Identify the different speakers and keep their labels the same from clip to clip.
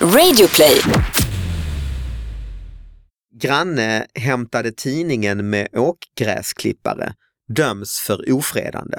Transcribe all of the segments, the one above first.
Speaker 1: Radioplay.
Speaker 2: Granne hämtade tidningen med åkgräsklippare, döms för ofredande.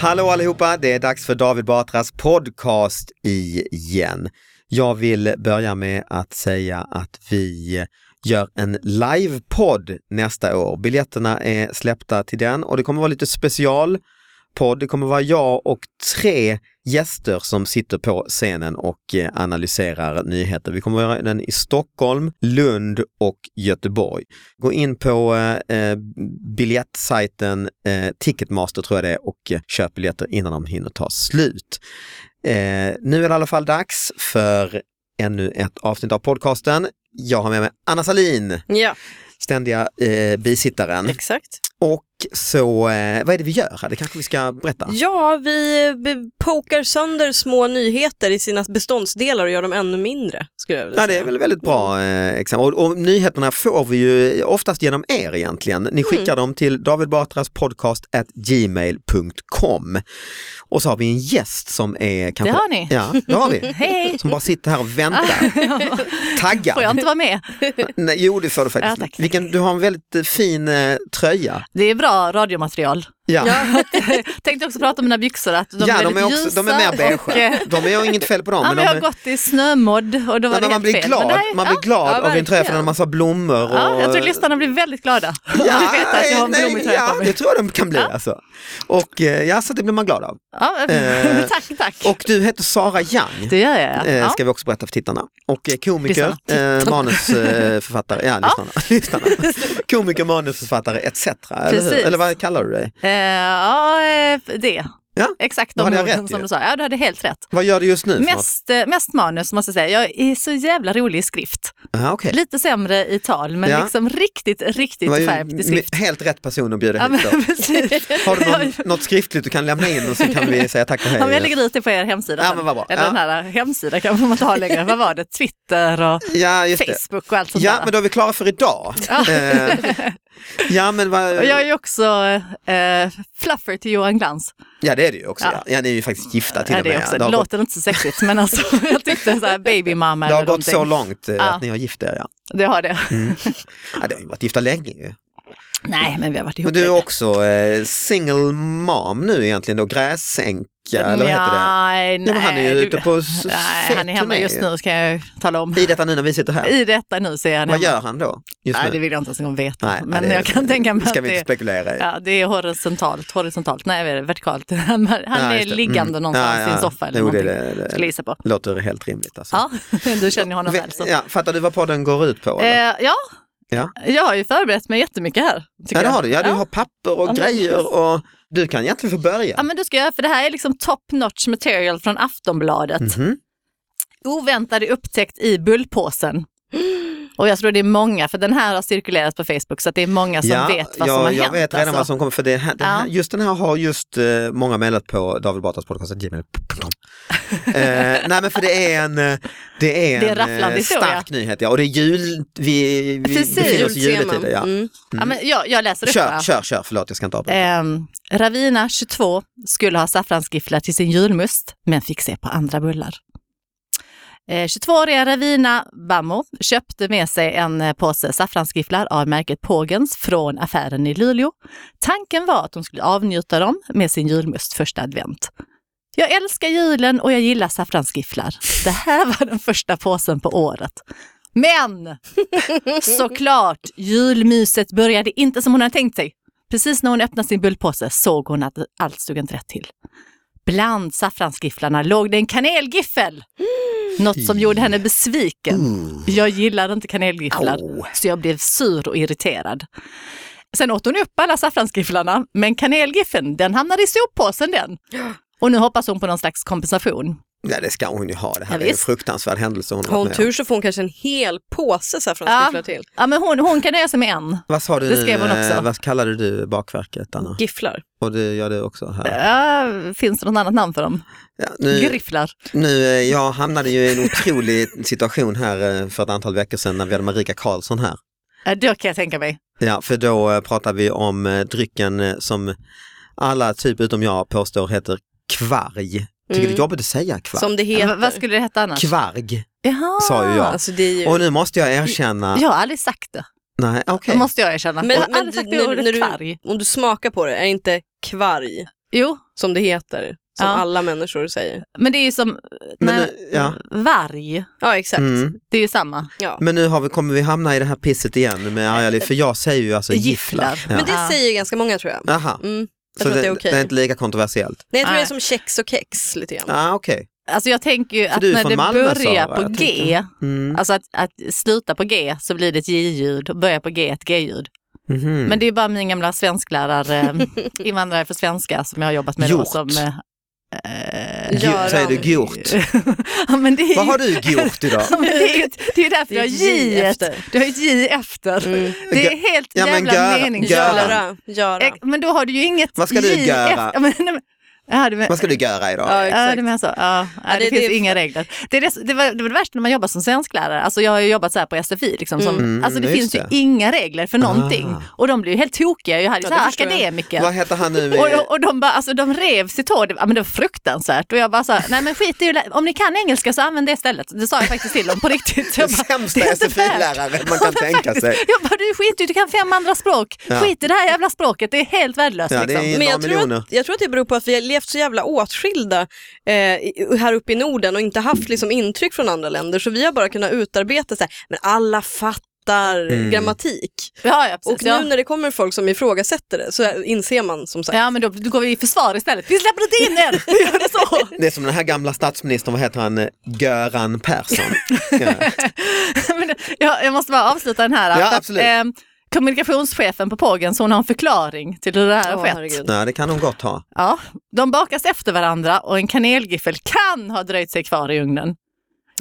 Speaker 2: Hallå allihopa! Det är dags för David Batras podcast igen. Jag vill börja med att säga att vi gör en livepodd nästa år. Biljetterna är släppta till den och det kommer vara lite specialpodd. Det kommer vara jag och tre gäster som sitter på scenen och eh, analyserar nyheter. Vi kommer att göra den i Stockholm, Lund och Göteborg. Gå in på eh, eh, biljettsajten eh, Ticketmaster tror jag det är och eh, köp biljetter innan de hinner ta slut. Eh, nu är det i alla fall dags för ännu ett avsnitt av podcasten. Jag har med mig Anna Salin,
Speaker 3: Ja,
Speaker 2: ständiga eh, bisittaren.
Speaker 3: exakt.
Speaker 2: Och så, eh, vad är det vi gör här? Det kanske vi ska berätta?
Speaker 3: Ja, vi be- pokar sönder små nyheter i sina beståndsdelar och gör dem ännu mindre. Skulle jag vilja
Speaker 2: Ja, det är
Speaker 3: säga.
Speaker 2: väl väldigt bra eh, exempel. Och, och nyheterna får vi ju oftast genom er egentligen.
Speaker 4: Mm.
Speaker 2: Ni skickar dem till davidbatraspodcast@gmail.com Och så har vi en gäst som är kanske...
Speaker 4: Det har ni.
Speaker 2: Ja, det har vi.
Speaker 4: Hej!
Speaker 2: Som bara sitter här och
Speaker 4: Ah,
Speaker 2: väntar, taggar.
Speaker 4: Får jag inte vara med?
Speaker 2: Nej, jo, det får du
Speaker 4: Ja,
Speaker 2: faktiskt.
Speaker 4: tack.
Speaker 2: Vilken, du har en väldigt eh, fin eh, tröja.
Speaker 4: Det är bra radiomaterial.
Speaker 2: Ja, ja,
Speaker 4: Tänkte också prata om mina byxor, att de
Speaker 2: de,
Speaker 4: är
Speaker 2: är,
Speaker 4: väldigt
Speaker 2: också,
Speaker 4: ljusa.
Speaker 2: de är mer
Speaker 4: och, eh,
Speaker 2: beige. De är inget fel på dem.
Speaker 4: Ja, men
Speaker 2: de
Speaker 4: jag
Speaker 2: är-
Speaker 4: har gått i snömodd och då var
Speaker 2: Nej,
Speaker 4: det
Speaker 2: men man
Speaker 4: helt
Speaker 2: blir
Speaker 4: fel.
Speaker 2: glad,
Speaker 4: Men det här-
Speaker 2: man blir glad
Speaker 4: ja,
Speaker 2: av en tröja för
Speaker 4: verkligen.
Speaker 2: den har en massa blommor. Och,
Speaker 4: Ja, jag tror lyssnarna blir väldigt glada. Ja,
Speaker 2: Ja,
Speaker 4: jag vet att jag har en
Speaker 2: nej,
Speaker 4: blommig tröja
Speaker 2: ja,
Speaker 4: på
Speaker 2: det
Speaker 4: mig.
Speaker 2: tror jag de kan bli alltså. Och eh, ja, så det blir man glad av.
Speaker 4: Ja,
Speaker 2: Eh,
Speaker 4: tack, tack.
Speaker 2: Och du heter Sara Young.
Speaker 4: det gör jag.
Speaker 2: eh,
Speaker 4: Ja.
Speaker 2: Ska vi också berätta för tittarna. Och eh, komiker, eh, manusförfattare, ja,
Speaker 4: Ja.
Speaker 2: lyssnarna. lyssnarna. Komiker, manusförfattare etc. Eller, hur?
Speaker 4: Precis.
Speaker 2: eller vad kallar du dig?
Speaker 4: Eh, ja, eh, det.
Speaker 2: Ja,
Speaker 4: Exakt
Speaker 2: då hade
Speaker 4: de
Speaker 2: jag
Speaker 4: orden
Speaker 2: rätt
Speaker 4: som
Speaker 2: ju.
Speaker 4: du sa. Ja, du hade helt rätt.
Speaker 2: Vad gör du just nu? för något?
Speaker 4: Mest, eh, mest manus måste jag säga. Jag är så jävla rolig i skrift.
Speaker 2: Aha, okej.
Speaker 4: Lite sämre i tal, men
Speaker 2: Ja.
Speaker 4: liksom riktigt,
Speaker 2: Det
Speaker 4: riktigt
Speaker 2: var ju
Speaker 4: skärpt i skrift.
Speaker 2: me- helt rätt person att bjuda
Speaker 4: Ja, men,
Speaker 2: hit. då.
Speaker 4: precis.
Speaker 2: liksom. Har du
Speaker 4: Ja,
Speaker 2: någon, något skriftligt du kan lämna in och så kan vi säga tack och hej?
Speaker 4: men jag lägger ut det på er hemsida.
Speaker 2: Ja,
Speaker 4: sen.
Speaker 2: men vad bra.
Speaker 4: Eller
Speaker 2: Ja.
Speaker 4: den här hemsidan kanske man inte har längre. vad var det? Twitter och
Speaker 2: ja, just det.
Speaker 4: Facebook och allt sånt
Speaker 2: Ja,
Speaker 4: där.
Speaker 2: men då är vi klara för idag. Eh, ja, men vad...
Speaker 4: Och jag är ju också eh, fluffer till Johan Glans.
Speaker 2: Ja det är det ju också. Ja.
Speaker 4: Ja.
Speaker 2: Ja, ni är ju faktiskt gifta till
Speaker 4: Ja,
Speaker 2: och
Speaker 4: det
Speaker 2: med.
Speaker 4: är också.
Speaker 2: det
Speaker 4: Det
Speaker 2: har, gått,
Speaker 4: låter inte så sexigt men alltså jag tyckte så här babymamma
Speaker 2: det har
Speaker 4: eller
Speaker 2: gått
Speaker 4: någonting.
Speaker 2: så Mm. långt eh,
Speaker 4: Ja.
Speaker 2: att ni har gift er. Ja.
Speaker 4: Det har det.
Speaker 2: Ja, det har ju varit gifta länge ju.
Speaker 4: Nej men vi har varit ihop.
Speaker 2: Men du är
Speaker 4: länge.
Speaker 2: också eh, single mom nu egentligen då, gräsänka eller vad heter det?
Speaker 4: Nej,
Speaker 2: Ja, men han är ju
Speaker 4: du-
Speaker 2: ute på s-
Speaker 4: Nej,
Speaker 2: fet
Speaker 4: han är hemma
Speaker 2: turné
Speaker 4: just
Speaker 2: ju.
Speaker 4: nu ska jag tala om.
Speaker 2: I detta nu när vi sitter här,
Speaker 4: I detta nu så är han
Speaker 2: vad
Speaker 4: hemma.
Speaker 2: gör han då? Just
Speaker 4: Nej,
Speaker 2: nu?
Speaker 4: det vill jag inte ens en gång veta.
Speaker 2: Nej,
Speaker 4: men
Speaker 2: det är-
Speaker 4: jag kan tänka mig
Speaker 2: det ska
Speaker 4: att
Speaker 2: vi inte
Speaker 4: det,
Speaker 2: spekulera i.
Speaker 4: ja, det är horisontalt. horisontalt. Nej, vad är det? vertikalt. Han, han
Speaker 2: Ja,
Speaker 4: är
Speaker 2: just det.
Speaker 4: liggande
Speaker 2: Mm.
Speaker 4: någonstans
Speaker 2: Ja,
Speaker 4: i en
Speaker 2: ja.
Speaker 4: soffa eller
Speaker 2: Jo, det,
Speaker 4: någonting.
Speaker 2: det, det,
Speaker 4: Skulle jag gissa på.
Speaker 2: låter helt rimligt alltså.
Speaker 4: Ja, du känner ju honom
Speaker 2: Vi-
Speaker 4: väl. Så.
Speaker 2: ja, fattar du vad podden går ut på? eller?
Speaker 4: Eh, ja.
Speaker 2: Ja.
Speaker 4: jag har ju förberett mig jättemycket här. tycker
Speaker 2: ja, det
Speaker 4: jag.
Speaker 2: har du. Ja, du
Speaker 4: ja.
Speaker 2: har papper och
Speaker 4: Ja, men
Speaker 2: grejer
Speaker 4: precis.
Speaker 2: och du kan egentligen få börja.
Speaker 4: Ja, men du ska jag, för det här är liksom top notch material från Aftonbladet.
Speaker 2: Mhm.
Speaker 4: Oväntade upptäckt i bullpåsen. Och jag tror det är många, för den här har cirkulerat på Facebook, så att det är många som alltså, vet vad
Speaker 2: jag,
Speaker 4: som har
Speaker 2: jag
Speaker 4: hänt.
Speaker 2: vet redan
Speaker 4: alltså.
Speaker 2: vad som kommer, för det här, den
Speaker 4: Ja.
Speaker 2: här, just den här har just eh, många mejlat på David Batras podcast, gmail.com. eh, nej men för det är en, eh, det är
Speaker 4: Det är
Speaker 2: en
Speaker 4: rafflande
Speaker 2: eh,
Speaker 4: historia.
Speaker 2: stark nyhet, ja. och det är jul, vi, vi
Speaker 4: Precis.
Speaker 2: befinner oss i
Speaker 3: Jultema.
Speaker 2: juletider. Ja.
Speaker 3: Mm.
Speaker 4: ja, men jag, jag läser upp
Speaker 2: Kör,
Speaker 4: va?
Speaker 2: kör, kör, förlåt jag ska inte avbryta.
Speaker 4: Ehm, Ravina, 22, skulle ha saffransgifflar till sin julmust, men fick se på andra bullar. Eh, 22-åriga Ravina Bammo köpte med sig en eh, påse saffransgifflar av märket Pågens från affären i Luleå. Tanken var att hon skulle avnjuta dem med sin julmust första advent. Jag älskar julen och jag gillar saffransgifflar. Det här var den första påsen på året. Men såklart, julmyset började inte som hon hade tänkt sig. Precis när hon öppnade sin bullpåse såg hon att allt stod inte rätt till. Bland saffransgifflarna låg det en kanelgiffel! Något som gjorde henne besviken. Jag gillar inte kanelgifflar,
Speaker 2: Au.
Speaker 4: så jag blev sur och irriterad. Sen åt hon upp alla saffransgifflarna, men kanelgiffeln den hamnade i soppåsen den. Och nu hoppas hon på någon slags kompensation.
Speaker 2: Ja, det ska hon ju ha, det här
Speaker 4: Ja,
Speaker 2: är ju en
Speaker 4: visst.
Speaker 2: fruktansvärd händelse hon har varit
Speaker 3: Har hon
Speaker 2: med om.
Speaker 3: tur så får hon kanske en hel påse saffransgifflar till.
Speaker 4: ja men hon, hon kan nöja sig med en.
Speaker 2: Vad sa du,
Speaker 4: Det skrev hon också.
Speaker 2: eh, vad kallade du bakverket Anna?
Speaker 3: Gifflar.
Speaker 2: Och du gör det också
Speaker 4: Eh.
Speaker 2: här.
Speaker 4: Ja, finns det något annat namn för dem?
Speaker 2: Ja, nu,
Speaker 4: Grifflar.
Speaker 2: Nu, eh, jag hamnade ju i en otrolig situation här eh, för ett antal veckor sedan när vi hade Marika Karlsson här.
Speaker 4: Ja, Då kan jag tänka mig.
Speaker 2: Ja, för då eh, pratar vi om eh, drycken eh, som alla, typ utom jag, påstår heter kvarg. Tycker det är
Speaker 3: Mm.
Speaker 2: jobbigt att säga kvarg.
Speaker 3: Som det
Speaker 4: Ja,
Speaker 3: heter.
Speaker 4: vad- vad skulle det heta annars?
Speaker 2: Kvarg.
Speaker 4: Jaha.
Speaker 2: sa ju jag.
Speaker 3: Alltså det är ju...
Speaker 2: Och nu måste jag erkänna.
Speaker 4: Jag har aldrig sagt det.
Speaker 2: Nej, okej.
Speaker 4: Det måste jag erkänna.
Speaker 3: Men-
Speaker 4: jag har
Speaker 3: men
Speaker 4: aldrig sagt
Speaker 3: du-
Speaker 4: det
Speaker 3: när-
Speaker 4: ordet
Speaker 3: när du-
Speaker 4: kvarg.
Speaker 3: Om du smakar på det, är det inte kvarg
Speaker 4: Jo,
Speaker 3: som det heter? Som
Speaker 4: Ja.
Speaker 3: alla människor säger.
Speaker 4: men det är ju som
Speaker 2: Men,
Speaker 4: när,
Speaker 2: eh, ja.
Speaker 4: varg.
Speaker 3: Ja, exakt.
Speaker 2: Mm.
Speaker 4: Det är ju samma.
Speaker 2: Men nu har vi, kommer vi hamna i det här pisset igen med arga liv, för jag säger ju alltså gifflar.
Speaker 4: Gifflar.
Speaker 2: Ja.
Speaker 3: Men det
Speaker 4: Ja.
Speaker 3: säger ju ganska många tror jag.
Speaker 2: Aha.
Speaker 3: Mm.
Speaker 2: Så
Speaker 3: Jag tror
Speaker 2: det,
Speaker 3: att det är okej.
Speaker 2: det är inte lika kontroversiellt?
Speaker 3: Nej, jag tror
Speaker 4: Nej.
Speaker 3: det är som kex och kex lite grann.
Speaker 2: Ah, okej.
Speaker 4: Alltså jag tänker ju att
Speaker 2: du är
Speaker 4: när
Speaker 2: från
Speaker 4: det
Speaker 2: Malmö,
Speaker 4: börjar
Speaker 2: Sara,
Speaker 4: på
Speaker 2: jag
Speaker 4: G,
Speaker 2: tänkte. Mm.
Speaker 4: alltså att, att sluta på G så blir det ett J-ljud och börjar på G ett G-ljud.
Speaker 2: Mhm.
Speaker 4: Men det är bara min gamla svensklärare, invandrare för svenska som jag har jobbat med då
Speaker 2: Gjort.
Speaker 4: som... eh,
Speaker 2: Gjo-
Speaker 3: Göran.
Speaker 2: Säger du gjort?
Speaker 4: ja, men det är
Speaker 2: Vad
Speaker 4: ju,
Speaker 2: har du gjort idag?
Speaker 4: Ja, men det är ju det är ju
Speaker 3: Det
Speaker 4: därför
Speaker 3: är
Speaker 4: jag har
Speaker 3: ett J
Speaker 4: J efter.
Speaker 3: efter.
Speaker 4: Du har ett J efter.
Speaker 3: Mm.
Speaker 4: Det är helt
Speaker 2: Ja, men
Speaker 4: jävla
Speaker 2: göra-
Speaker 4: meningslöst.
Speaker 2: göra.
Speaker 3: Göra, göra.
Speaker 4: Eh, Men då har du ju inget
Speaker 2: Vad ska du
Speaker 4: J
Speaker 2: göra?
Speaker 4: efter. Ja, men- nej, men- Ja, du men-
Speaker 2: Vad ska du göra idag?
Speaker 3: Ja,
Speaker 4: Ja,
Speaker 3: exakt.
Speaker 4: du menar så. Ja, ja, det,
Speaker 3: det-
Speaker 4: finns
Speaker 3: det-
Speaker 4: inga regler. Det, är det, det, var, det var det värsta när man jobbar som svensklärare. Alltså jag har ju jobbat så här på SFI. Liksom, som,
Speaker 2: Mm,
Speaker 4: alltså det
Speaker 2: just
Speaker 4: finns ju
Speaker 2: det.
Speaker 4: inga regler för någonting.
Speaker 2: Ah.
Speaker 4: Och de blir ju helt tokiga. Jag hade ju
Speaker 3: Ja,
Speaker 4: så här
Speaker 3: det förstår jag.
Speaker 4: akademiker.
Speaker 2: Vad heter han nu? med-
Speaker 4: Och, och, och de, bara, alltså, de rev sitt hår, det, ja, men det var fruktansvärt. Och jag bara sa, nej men skit i att lä- om ni kan engelska så använd det istället. Det sa jag faktiskt till dem på riktigt.
Speaker 2: Den
Speaker 4: Jag bara,
Speaker 2: sämsta
Speaker 4: det är inte värt.
Speaker 2: SFI-läraren man kan tänka sig.
Speaker 4: jag bara, du skit i, du kan fem andra språk.
Speaker 2: Ja.
Speaker 4: Skit i det här jävla språket, det är helt värdelöst.
Speaker 2: Ja, det
Speaker 4: liksom.
Speaker 2: är
Speaker 3: Men
Speaker 2: några
Speaker 3: jag tror,
Speaker 2: miljoner.
Speaker 3: att, jag tror att det beror på att vi har levt så jävla åtskilda eh, i- här uppe i Norden och inte haft liksom, intryck från andra länder så vi har bara kunnat utarbeta så här, men alla fattar
Speaker 2: Mm.
Speaker 3: grammatik.
Speaker 4: Ja, ja, precis.
Speaker 3: Och
Speaker 4: ja.
Speaker 3: nu när det kommer folk som ifrågasätter det så inser man som sagt.
Speaker 4: ja, men då, då går vi i försvar istället. Vi släpper inte in er! Vi gör det så.
Speaker 2: Det är som den här gamla statsministern, vad heter han, eh, Göran Persson. Ja.
Speaker 4: Men, det- jag, jag måste bara avsluta den här.
Speaker 2: Ja,
Speaker 4: För att,
Speaker 2: absolut.
Speaker 4: ehm, kommunikationschefen på Pågens, hon har en förklaring till hur det här
Speaker 3: Åh,
Speaker 4: har skett.
Speaker 3: herregud.
Speaker 2: Nej, det kan de gott ha.
Speaker 4: Ja, de bakas efter varandra och en kanelgiffel kan ha dröjt sig kvar i ugnen.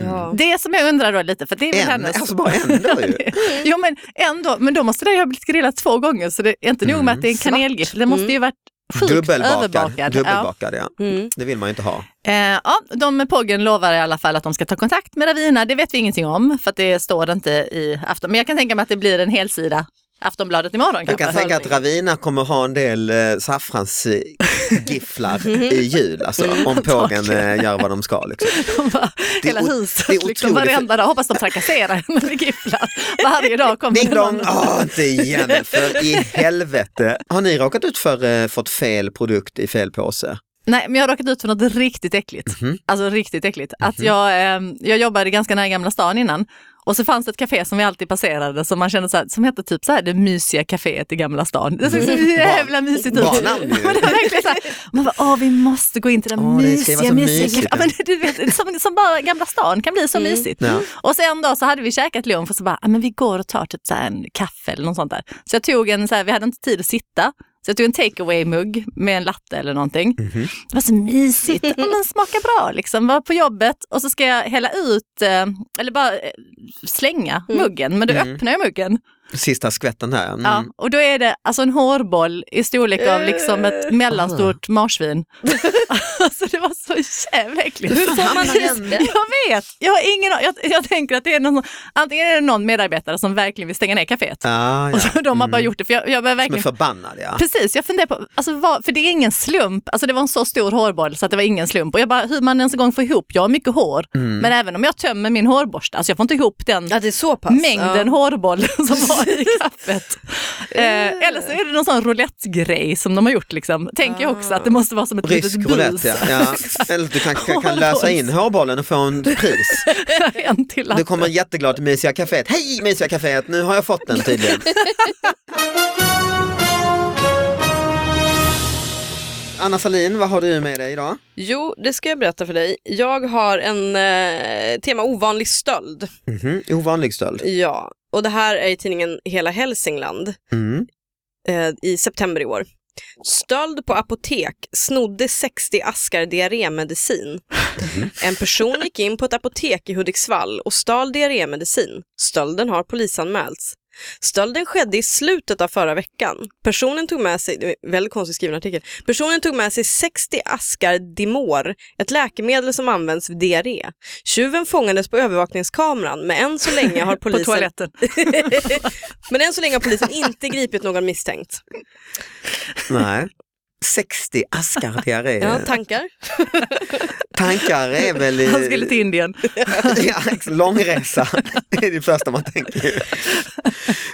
Speaker 3: Ja.
Speaker 4: Det som jag undrar då lite, för det är väl
Speaker 2: En,
Speaker 4: hennes...
Speaker 2: alltså bara en då ju.
Speaker 4: Jo men ändå, men då måste det ju ha blivit grillat två gånger så det är inte nog med att det är en
Speaker 3: Svart.
Speaker 4: kanelgiffel, det måste ju varit sjukt
Speaker 2: Mm. Dubbelbakad.
Speaker 4: överbakad. Ja.
Speaker 2: Dubbelbakad, ja.
Speaker 3: Mm.
Speaker 2: Det vill man ju inte ha.
Speaker 4: Eh, ja, de med Pågen lovar i alla fall att de ska ta kontakt med Ravina, det vet vi ingenting om för att det står inte i Afton. Men jag kan tänka mig att det blir en hel sida Aftonbladet imorgon
Speaker 2: Jag kan
Speaker 4: kanske.
Speaker 2: tänka att Ravina kommer ha en del eh, saffransgifflar
Speaker 4: Mm-hmm.
Speaker 2: i jul, alltså,
Speaker 4: Mm.
Speaker 2: om pågen eh, gör vad de ska. Liksom.
Speaker 4: De bara,
Speaker 2: Det är
Speaker 4: hela
Speaker 2: o-
Speaker 4: huset,
Speaker 2: det är
Speaker 4: liksom,
Speaker 2: otroligt.
Speaker 4: varenda dag. Hoppas de trakasserar henne med gifflar. Varje dag kommer
Speaker 2: Ding
Speaker 4: det
Speaker 2: dong!
Speaker 4: någon.
Speaker 2: Åh, inte igen, för i helvete. Har ni råkat ut för eh, fått fel produkt i fel påse?
Speaker 4: Nej, men jag har råkat ut för något riktigt äckligt.
Speaker 2: Mhm.
Speaker 4: Alltså riktigt äckligt. Att jag, eh, jag jobbade ganska nära Gamla stan innan och så fanns det ett café som vi alltid passerade som man kände så här, som hette typ så här det mysiga caféet i Gamla stan. Det såg så jävla mysigt ut.
Speaker 2: Bra namn Mm. ju.
Speaker 4: Men det var verkligen så här, man bara, åh vi måste gå in till det
Speaker 2: Åh, det ska ju vara
Speaker 4: mysiga,
Speaker 2: så
Speaker 4: mysiga
Speaker 2: mysigt,
Speaker 4: caféet. Ja, men, du vet, som, som bara Gamla stan kan bli så
Speaker 3: Mm.
Speaker 4: mysigt.
Speaker 2: Ja.
Speaker 4: Och sen en dag så hade vi käkat lunch och så bara, ah, men vi går och tar typ så här en kaffe eller något sånt där. Så jag tog en, så här, vi hade inte tid att sitta, så jag tog en takeaway mugg med en latte eller någonting. Det var så mysigt, ja, men smakar bra liksom. Var på jobbet och så ska jag hälla ut, eh, eller bara eh, slänga
Speaker 3: Mm.
Speaker 4: muggen, men då
Speaker 2: Mm.
Speaker 4: öppnar jag muggen.
Speaker 2: Sista skvätten här. Mm.
Speaker 4: Ja, och då är det alltså en hårboll i storlek av liksom ett
Speaker 3: Eh.
Speaker 4: mellanstort marsvin. alltså det var så jävla äckligt.
Speaker 3: Hur får man
Speaker 2: hamnar den?
Speaker 3: i det?
Speaker 4: Jag vet, jag har ingen an- jag, jag tänker att det är någon, antingen är det någon medarbetare som verkligen vill stänga ner caféet.
Speaker 2: Ah, ja.
Speaker 4: Och så, de har bara gjort det, för jag, jag börjar
Speaker 2: Som är
Speaker 4: verkligen...
Speaker 2: förbannad, ja.
Speaker 4: Precis, jag funderar på, alltså vad, för det är ingen slump, alltså det var en så stor hårboll så att det var ingen slump. Och jag bara, hur man ens en gång får ihop, jag har mycket hår, men även om jag tömmer min hårborste, alltså jag får inte ihop den
Speaker 3: Ja, det är så pass.
Speaker 4: mängden
Speaker 3: ja.
Speaker 4: hårboll som var i kaffet. eh, eller så är det någon sån roulettegrej som de har gjort. Liksom. Tänker jag också att det måste vara som ett litet
Speaker 2: Rysk
Speaker 4: bus.
Speaker 2: roulette, ja. ja. Eller du kan, kan, kan
Speaker 4: Hårboll.
Speaker 2: lösa in hårbollen och få en pris.
Speaker 4: en till
Speaker 2: Du
Speaker 4: att,
Speaker 2: kommer jätteglad till Mysiga Caféet. Hej Mysiga Caféet, nu har jag fått den tydligen. Anna Salin, vad har du med dig idag?
Speaker 3: Jo, det ska jag berätta för dig. Jag har en eh, tema ovanlig stöld.
Speaker 2: Mhm, Ovanlig stöld.
Speaker 3: Ja, och det här är i tidningen Hela Hälsingland
Speaker 2: Mm.
Speaker 3: eh, i september i år. Stöld på apotek, snodde 60 askar diarrémedicin.
Speaker 4: Mhm.
Speaker 3: En person gick in på ett apotek i Hudiksvall och stal diarrémedicin. Stölden har polisanmälts. Stölden skedde i slutet av förra veckan. Personen tog med sig, det är en väldigt konstigt skriven artikel, personen tog med sig 60 askar Dimor, ett läkemedel som används vid diarré. Tjuven fångades på övervakningskameran men än så länge har
Speaker 4: På
Speaker 3: polisen
Speaker 4: toaletten.
Speaker 3: Men än så länge har polisen inte gripit någon misstänkt.
Speaker 2: Nej. 60 askar diarré.
Speaker 3: Ja, tankar?
Speaker 2: Tankar är väl... eh,
Speaker 4: Han skulle till Indien.
Speaker 2: ja, ex- långresa, det är det första man tänker.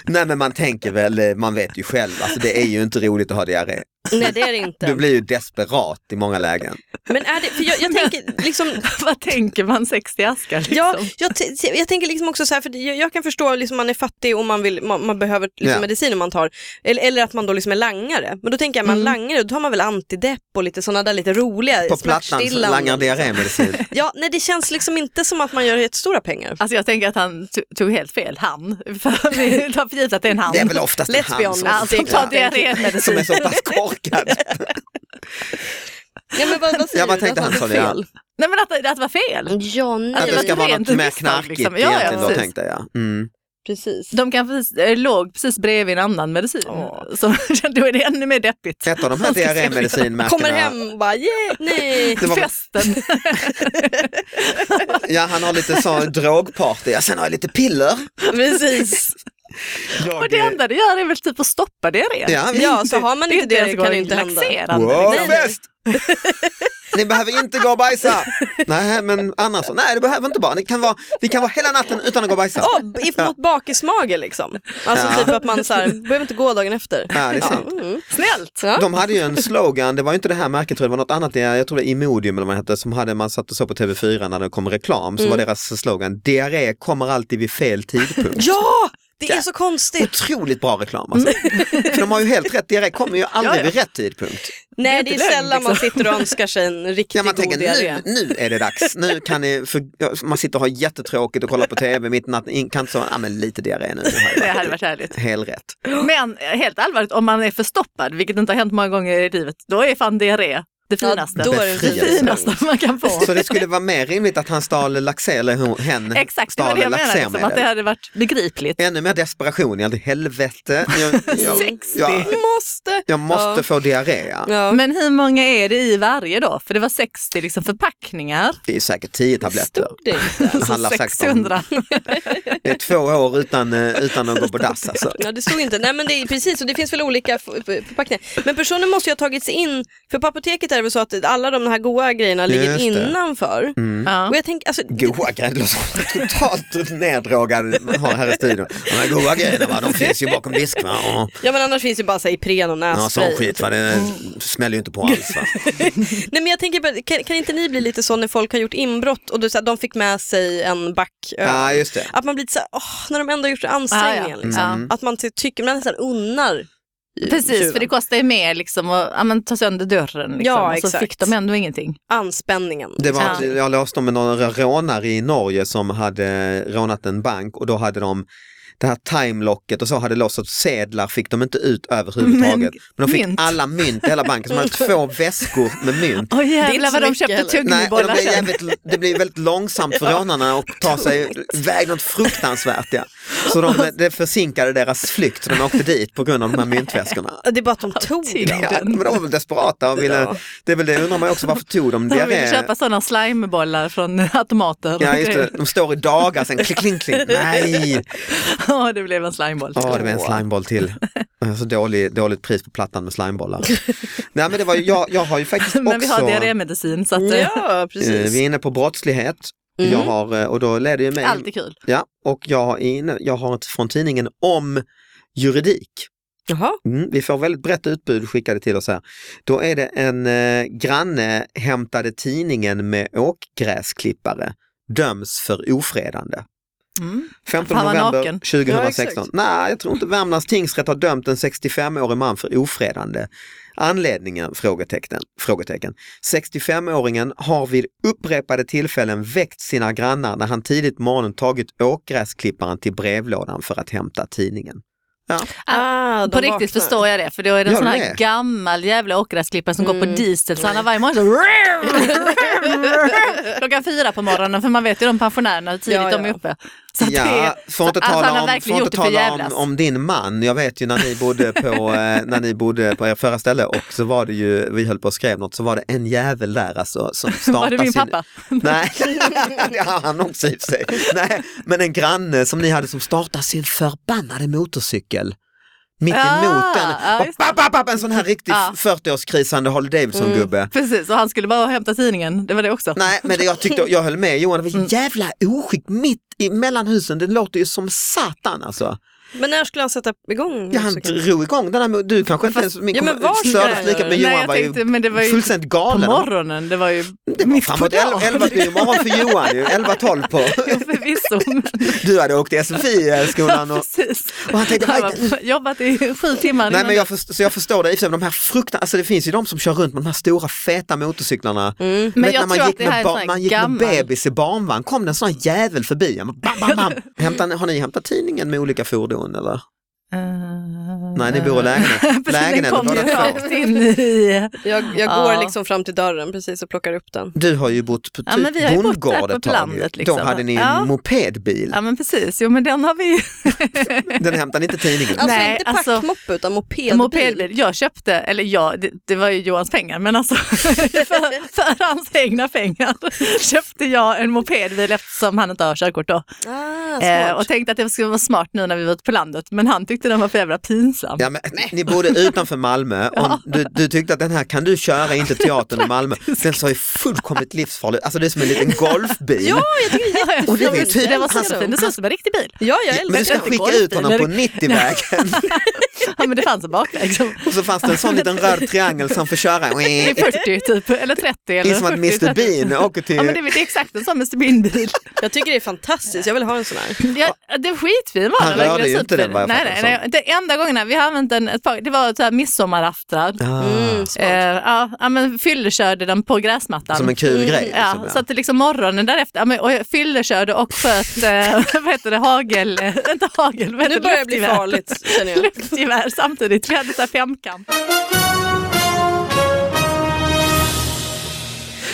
Speaker 2: Nej men man tänker väl, eh, man vet ju själv, alltså det är ju inte roligt att ha diarré.
Speaker 3: Nej, det är det
Speaker 2: Du
Speaker 3: inte.
Speaker 2: blir ju desperat i många lägen.
Speaker 3: Men är det, för jag, jag tänker liksom,
Speaker 4: Vad tänker man 60 askar liksom?
Speaker 3: ja, jag, t- jag tänker liksom också så här, för det- jag, jag kan förstå att liksom man är fattig och man, vill, man, man behöver liksom
Speaker 2: Ja.
Speaker 3: mediciner man tar, eller, eller att man då liksom är langare. Men då tänker jag, är man
Speaker 4: Mm.
Speaker 3: langare, då tar man väl antidepp och lite sådana där lite roliga
Speaker 4: Eh,
Speaker 2: På plattan
Speaker 4: liksom.
Speaker 2: så
Speaker 3: smärtstillande.
Speaker 2: langar diarrémedicin.
Speaker 3: Ja, nej det känns liksom inte som att man gör jättestora pengar.
Speaker 4: Alltså jag tänker att han to- tog helt fel, han. För vi tar för givet att det är en han.
Speaker 2: Det är väl oftast en
Speaker 3: Let's be
Speaker 2: han som,
Speaker 3: honest.
Speaker 4: Alltså, ta
Speaker 2: som
Speaker 4: diarrémedicin.
Speaker 2: är så pass korkad.
Speaker 3: Ja, men vad, vad säger
Speaker 2: Ja, vad
Speaker 3: du?
Speaker 2: tänkte
Speaker 3: Att
Speaker 2: han,
Speaker 3: man
Speaker 2: sa det, ja.
Speaker 3: fel?
Speaker 4: Nej men att, att det var fel.
Speaker 3: Ja, nej.
Speaker 2: Att det ska
Speaker 4: var
Speaker 2: vara
Speaker 4: rent
Speaker 2: något mer
Speaker 4: misstag,
Speaker 2: knarkigt
Speaker 4: liksom. Ja, ja,
Speaker 2: egentligen då
Speaker 4: precis.
Speaker 2: tänkte jag. Mm.
Speaker 3: Precis.
Speaker 4: De kan precis, eh, låg precis bredvid en annan medicin.
Speaker 3: Ja.
Speaker 4: Så då är det ännu mer deppigt.
Speaker 2: Ett av de här
Speaker 3: Kommer
Speaker 2: diarrémedicinmärkena,
Speaker 3: hem och bara, yeah, nej.
Speaker 2: Det var-
Speaker 4: Festen.
Speaker 2: ja han har lite sån drogparty, ja, sen har jag lite piller.
Speaker 3: Precis.
Speaker 2: Jag,
Speaker 4: Och det
Speaker 2: eh,
Speaker 4: enda det gör är väl typ att stoppa diarrén.
Speaker 2: Ja,
Speaker 3: Ja, så har man
Speaker 4: Det är
Speaker 3: inte det,
Speaker 4: ens
Speaker 3: kan det
Speaker 4: gång
Speaker 3: inte hända.
Speaker 4: laxerande,
Speaker 2: Wow,
Speaker 4: liksom.
Speaker 2: fest! Ni behöver inte gå och bajsa. Nej, men annars så. Nej, det behöver inte bara. Ni kan vara, vi kan vara hela natten utan att gå och bajsa.
Speaker 3: Ja, b-
Speaker 2: Ja.
Speaker 3: mot bakismage liksom. Alltså
Speaker 2: Ja.
Speaker 3: typ att man så här, behöver inte gå dagen efter.
Speaker 2: Ja, det är sant.
Speaker 3: Mm.
Speaker 4: Snällt.
Speaker 3: Ja.
Speaker 2: De hade ju en slogan, det var ju inte det här märket, tror jag, det var något annat, jag tror det var Imodium eller vad det hette, som hade, man satt och såg på TV4 när det kom reklam, så
Speaker 3: Mm.
Speaker 2: var deras slogan diarré kommer alltid vid fel tidpunkt.
Speaker 3: ja, det är så konstigt.
Speaker 2: Otroligt bra reklam alltså. För de har ju helt rätt, diarré kommer ju aldrig
Speaker 4: Ja, ja.
Speaker 2: vid rätt tidpunkt.
Speaker 3: Nej,
Speaker 4: inte
Speaker 3: det är
Speaker 4: lögn, liksom.
Speaker 3: sällan man sitter och önskar sig en riktigt
Speaker 2: Ja, man
Speaker 3: god
Speaker 2: tänker
Speaker 3: diarré.
Speaker 2: nu, nu är det dags, nu kan ni, för, ja, man sitter och har jättetråkigt och kollar på TV mitt i natten, In- kan inte säga, ja men lite diarré nu. Det
Speaker 4: Det
Speaker 2: hade
Speaker 4: hade
Speaker 2: varit
Speaker 4: varit härligt.
Speaker 2: Helrätt.
Speaker 4: Men eh, helt allvarligt, om man är förstoppad, vilket inte har hänt många gånger i livet, då är fan diarré det
Speaker 3: Ja,
Speaker 4: finaste.
Speaker 3: då är det
Speaker 4: det
Speaker 2: Befrielse.
Speaker 4: finaste man kan få.
Speaker 2: Så det skulle vara mer rimligt att han stal Laxell, eller hon- hen
Speaker 4: Exakt, det var
Speaker 2: stal
Speaker 4: det jag menade,
Speaker 2: Laxell
Speaker 4: liksom, att det hade varit begripligt.
Speaker 2: Ännu mer desperation, jag hade helvete. Jag, jag,
Speaker 4: 60.
Speaker 2: jag,
Speaker 3: Måste.
Speaker 2: jag måste
Speaker 3: Ja.
Speaker 2: få diarré. ja.
Speaker 3: Ja.
Speaker 4: Men hur många är det i varje då? För det var 60 liksom, förpackningar. Alltså,
Speaker 2: Det är säkert tio tabletter.
Speaker 3: Stod det inte?
Speaker 2: Det
Speaker 4: Så
Speaker 2: handlar säkert om-
Speaker 4: 600.
Speaker 2: Det är två år utan, eh, utan att gå på dass. Alltså.
Speaker 3: Ja, det stod inte. Nej, men det är precis, och det finns väl olika f- f- förpackningar. Men personen måste ju ha tagit sig in, för på apoteket är det väl så att alla de här goda grejerna ligger
Speaker 2: Just det.
Speaker 3: innanför.
Speaker 2: Mm.
Speaker 4: Ja.
Speaker 3: Och jag tänker, alltså,
Speaker 2: Goa grejer, det låter som totalt neddrogad man har här i studion. De här goa grejerna, va, de finns ju bakom disk. Va? Ja,
Speaker 3: ja men annars finns ju bara så här, Ipren och
Speaker 2: Ja, sån
Speaker 3: nässpray.
Speaker 2: skit, va? det smäller ju inte på alls. Va?
Speaker 3: Nej men jag tänker bara, kan, kan inte ni bli lite så när folk har gjort inbrott och du, så här, de fick med sig en back öl?
Speaker 2: Ja, just det.
Speaker 3: Att man blir lite såhär, åh, när de ändå har gjort ansträngningen.
Speaker 4: Ah, ja.
Speaker 3: liksom.
Speaker 2: Mm.
Speaker 3: Att man ty- tycker, man nästan unnar eh,
Speaker 4: Precis,
Speaker 3: tjuven.
Speaker 4: för det kostar ju mer liksom att ja, men, ta sönder dörren. Liksom,
Speaker 3: Ja,
Speaker 4: och så
Speaker 3: exakt.
Speaker 4: fick de ändå ingenting.
Speaker 3: anspänningen.
Speaker 2: Det var,
Speaker 4: Ja.
Speaker 2: att Jag läste om några rånare i Norge som hade rånat en bank och då hade de det här timelocket och så hade låst att sedlar fick de inte ut överhuvudtaget. Men,
Speaker 4: Men
Speaker 2: de fick
Speaker 4: mynt.
Speaker 2: alla mynt i hela banken, så de hade två väskor med mynt.
Speaker 4: Åh jävlar
Speaker 3: inte
Speaker 4: vad
Speaker 3: så
Speaker 4: de
Speaker 3: mycket
Speaker 4: köpte
Speaker 3: heller.
Speaker 2: Nej, och de
Speaker 4: tuggummibollar
Speaker 2: blev
Speaker 4: sen.
Speaker 2: jävligt, det blev väldigt långsamt för rånarna att ta sig iväg något fruktansvärt. Ja. Så de, det försinkade deras flykt, så de åkte dit på grund av de här myntväskorna.
Speaker 3: Det är bara att de tog
Speaker 4: Alltid.
Speaker 3: den.
Speaker 2: Ja, men de var väl desperata och ville,
Speaker 3: Ja.
Speaker 2: det är väl det, undrar man också varför tog de
Speaker 4: De ville
Speaker 2: diarré?
Speaker 4: köpa sådana slimebollar från automater.
Speaker 2: Ja, just det. De står i dagar sen, kling, kling, kling. Nej!
Speaker 4: Ja, det blev en slimeboll.
Speaker 2: Ja, det var en slimeboll till. Jag har Så dålig, dåligt pris på plattan med slimebollar. Nej, men det var ju, jag, jag har ju faktiskt också...
Speaker 4: Men vi har diarrémedicin så att, eh,
Speaker 3: Ja,
Speaker 2: eh,
Speaker 3: precis.
Speaker 2: vi är inne på brottslighet.
Speaker 3: Mm.
Speaker 2: Jag har, eh, och då leder ju mig...
Speaker 4: allt är kul.
Speaker 2: Ja, och jag har, inne, jag har ett från tidningen om juridik.
Speaker 3: Jaha.
Speaker 2: Mm, vi får väldigt brett utbud skickade till oss här. Då är det en eh, granne hämtade tidningen med åkgräsklippare, döms för ofredande.
Speaker 4: Mm.
Speaker 2: 15
Speaker 4: Han var
Speaker 2: november
Speaker 4: naken.
Speaker 2: 2016.
Speaker 3: Ja, exakt.
Speaker 2: Nej, jag tror inte Värmlands tingsrätt har dömt en 65-årig man för ofredande. Anledningen? Frågetecken. frågetecken. 65-åringen har vid upprepade tillfällen väckt sina grannar när han tidigt på morgonen tagit åkgräsklipparen till brevlådan för att hämta tidningen.
Speaker 3: Ah, de
Speaker 4: På riktigt
Speaker 3: vaknar.
Speaker 4: förstår jag det, för då är det en
Speaker 2: Jag
Speaker 4: sån här
Speaker 2: med.
Speaker 4: gammal jävla åkgräsklippare som går på
Speaker 3: Mm.
Speaker 4: diesel så han har varje morgon så Klockan fyra på morgonen, för man vet ju de pensionärerna hur tidigt
Speaker 3: Ja, ja.
Speaker 4: de är uppe. Så att
Speaker 2: Ja,
Speaker 4: det,
Speaker 2: får inte
Speaker 4: så- alltså, han
Speaker 2: tala,
Speaker 4: har
Speaker 2: om,
Speaker 4: verkligen
Speaker 2: får inte
Speaker 4: gjort det för
Speaker 2: tala om,
Speaker 4: jävlas.
Speaker 2: om din man. Jag vet ju när ni bodde på, eh, när ni bodde på er förra ställe och så var det ju, vi höll på och skrev något, så var det en jävel där alltså som startade
Speaker 4: var det min
Speaker 2: sin...
Speaker 4: pappa?
Speaker 2: Nej, det har han också i och för sig. Nej, men en granne som ni hade som startade sin förbannade motorcykel. Mitt
Speaker 4: Ah,
Speaker 2: emot den.
Speaker 4: ja, just det. Ah.
Speaker 2: Bap,
Speaker 4: Mm.
Speaker 2: bap, bap, en sån här riktig
Speaker 4: Ja.
Speaker 2: 40-årskrisande Harley Davidson-gubbe.
Speaker 4: Precis, och han skulle bara hämta tidningen. Det var det också.
Speaker 2: Nej, men det jag tyckte, jag höll med Johan, det var
Speaker 4: Mm.
Speaker 2: ett jävla oskick mitt i mellan husen. Det låter ju som satan alltså.
Speaker 3: Men när skulle han sätta igång?
Speaker 2: Ja, han
Speaker 3: musiken?
Speaker 2: drog igång den här, mo- du kanske inte ens min
Speaker 3: Ja, men
Speaker 2: kommer-
Speaker 3: var ska
Speaker 2: stördes
Speaker 3: den
Speaker 2: lika,
Speaker 3: göra
Speaker 2: men
Speaker 3: det?
Speaker 4: Nej,
Speaker 2: Johan
Speaker 4: jag
Speaker 2: var
Speaker 4: tänkte,
Speaker 2: ju
Speaker 4: men det var ju
Speaker 2: fullständigt
Speaker 4: på
Speaker 2: galen.
Speaker 4: morgonen. Det var ju
Speaker 2: Det var
Speaker 4: mitt på
Speaker 2: framåt elva-
Speaker 4: dagen.
Speaker 2: 11 på morgonen för Johan, ju. 11-12 på.
Speaker 4: Jo, Förvisso. men-
Speaker 2: Du hade åkt till SFI-skolan eh, och
Speaker 4: Precis.
Speaker 2: Och han tänkte,
Speaker 4: Han
Speaker 2: "Vad-
Speaker 4: har jobbat i sju timmar.
Speaker 2: Nej
Speaker 4: innan
Speaker 2: men jag, först- så jag förstår det i och för sig, men de här fruktan, alltså det finns ju de som kör runt med de här stora feta motorcyklarna.
Speaker 3: Mm.
Speaker 4: Men
Speaker 2: Vet
Speaker 4: jag
Speaker 2: när man
Speaker 4: tror
Speaker 2: gick
Speaker 4: att det
Speaker 2: med
Speaker 4: här är
Speaker 2: ba-
Speaker 4: en sån här
Speaker 2: Man gick
Speaker 4: gammal-
Speaker 2: med bebis i barnvagn, kom det en sån här jävel förbi. Jag bara, Bam, bam, bam. Hämtar, ni- har ni hämtat tidningen med olika fordon eller?
Speaker 4: Eh,
Speaker 2: Nej, ni bor i lägenhet.
Speaker 4: Precis,
Speaker 2: Lägenhet,
Speaker 4: den kom
Speaker 2: båda
Speaker 4: ju
Speaker 2: två.
Speaker 4: rakt in i...
Speaker 3: Jag, jag
Speaker 4: Ja.
Speaker 3: går liksom fram till dörren precis och plockar upp den.
Speaker 2: Du har ju bott på typ
Speaker 4: Ja, men vi har ju bott
Speaker 2: bondgård
Speaker 4: där på
Speaker 2: ett tag ju.
Speaker 4: landet, liksom.
Speaker 2: Då hade ni en
Speaker 4: Ja.
Speaker 2: mopedbil.
Speaker 4: Ja men precis, jo men den har vi
Speaker 2: Den hämtade inte tidningen.
Speaker 3: Alltså
Speaker 4: Nej,
Speaker 3: inte
Speaker 4: alltså-
Speaker 3: packmoppe utan mopedbil.
Speaker 4: Mopedbil. Jag köpte, eller ja, det, det var ju Johans pengar, men alltså för, för hans egna pengar köpte jag en mopedbil eftersom han inte har körkort då.
Speaker 3: Ah,
Speaker 4: Eh,
Speaker 3: smart.
Speaker 4: och tänkte att det skulle vara smart nu när vi var ute på landet, men han tyckte den var för jävla pinsam.
Speaker 2: Ja, men, ni bodde utanför Malmö och du, du tyckte att den här kan du köra in till teatern i Malmö. Den sa ju fullkomligt livsfarlig, alltså det är som en liten golfbil.
Speaker 3: Ja, jag tycker det är
Speaker 2: Och det är
Speaker 3: jättefint.
Speaker 2: tydligt.
Speaker 4: Den var så
Speaker 2: Alltså-
Speaker 4: fin, det såg ut som en riktig bil.
Speaker 3: Ja, jag
Speaker 2: Men du ska
Speaker 3: älskar det.
Speaker 4: inte
Speaker 2: skicka
Speaker 4: golfbil.
Speaker 2: ut honom på 90-vägen
Speaker 4: Ja men det fanns en bakväg. liksom. Som,
Speaker 2: och så fanns det en sån liten röd triangel som får köra.
Speaker 4: i 40 typ, eller 30
Speaker 2: Det
Speaker 4: eller
Speaker 2: är som att
Speaker 4: 40,
Speaker 2: Mr
Speaker 4: 30.
Speaker 2: Bean åker till...
Speaker 4: Ja men det, det är exakt en sån Mr Bean-bil.
Speaker 3: Jag tycker det är fantastiskt, jag vill ha en sån här.
Speaker 4: Ja, det är skitfin var
Speaker 2: Han
Speaker 4: den,
Speaker 2: rörde
Speaker 4: verkligen
Speaker 2: ju inte
Speaker 4: superfin.
Speaker 2: den, vad jag
Speaker 4: nej,
Speaker 2: fattar
Speaker 4: nej,
Speaker 2: det
Speaker 4: nej. Det enda gångerna vi har använt den ett par, det var så här midsommaraftnar.
Speaker 2: Ah,
Speaker 3: Mm, smart.
Speaker 4: Eh, ja, ja, men fyllekörde den på gräsmattan.
Speaker 2: som en kul
Speaker 3: Mm,
Speaker 2: grej.
Speaker 4: ja,
Speaker 2: liksom,
Speaker 4: så att det liksom morgonen därefter, ja, men, och jag fyllekörde och sköt, eh, vad heter det, hagel, eh, inte hagel, vad heter
Speaker 3: Nu börjar det bli
Speaker 4: luftgevär.
Speaker 3: farligt känner jag.
Speaker 4: Luftgevär samtidigt, vi hade så här femkamp.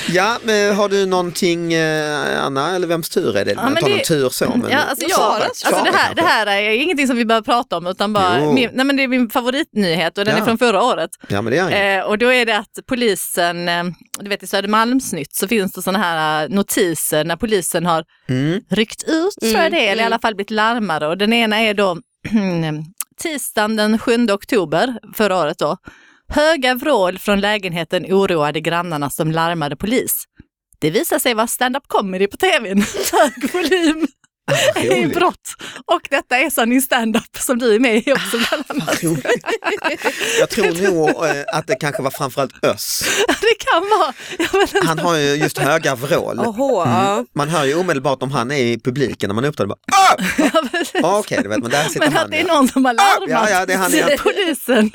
Speaker 2: ja, men har du någonting eh, Anna, eller vems tur är det?
Speaker 4: men
Speaker 2: Man tar
Speaker 4: det-
Speaker 2: någon tur så. Men...
Speaker 4: Ja, alltså, jag,
Speaker 3: Sara,
Speaker 4: alltså det, här, det här är ingenting som vi behöver prata om utan bara,
Speaker 2: Jo.
Speaker 4: min, nej, men det är min favoritnyhet och den
Speaker 2: Ja.
Speaker 4: är från förra året.
Speaker 2: Ja, men det är inget.
Speaker 4: Eh, och då är det att polisen, eh, du vet i Södermalmsnytt så finns det sådana här eh, notiser när polisen har
Speaker 2: Mm.
Speaker 4: ryckt ut tror
Speaker 3: Mm,
Speaker 4: jag det är, eller i
Speaker 3: mm.
Speaker 4: alla fall blivit larmade. Och den ena är då tisdagen den 7 oktober förra året då. Höga vrål från lägenheten oroade grannarna som larmade polis. Det visar sig vara stand-up comedy på tvn. Hög volym i
Speaker 2: Roligt.
Speaker 4: brott. Och detta är sanning stand-up som du är med i också bland annat.
Speaker 2: Roligt. Jag tror nog eh, att det kanske var framförallt Öss.
Speaker 4: Det kan vara, ja, men
Speaker 2: Han har ju just höga vrål. Mm.
Speaker 3: Oho, ja.
Speaker 2: Man hör ju omedelbart om han är i publiken när man upptar det. Bara, "Ah!"
Speaker 4: Ja, precis.
Speaker 2: Ja, Okej, du vet, men där sitter
Speaker 4: Men att
Speaker 2: han.
Speaker 4: det är
Speaker 2: ja.
Speaker 4: någon som har larmat
Speaker 2: Ah, Ja, ja, det är han igen.
Speaker 4: polisen.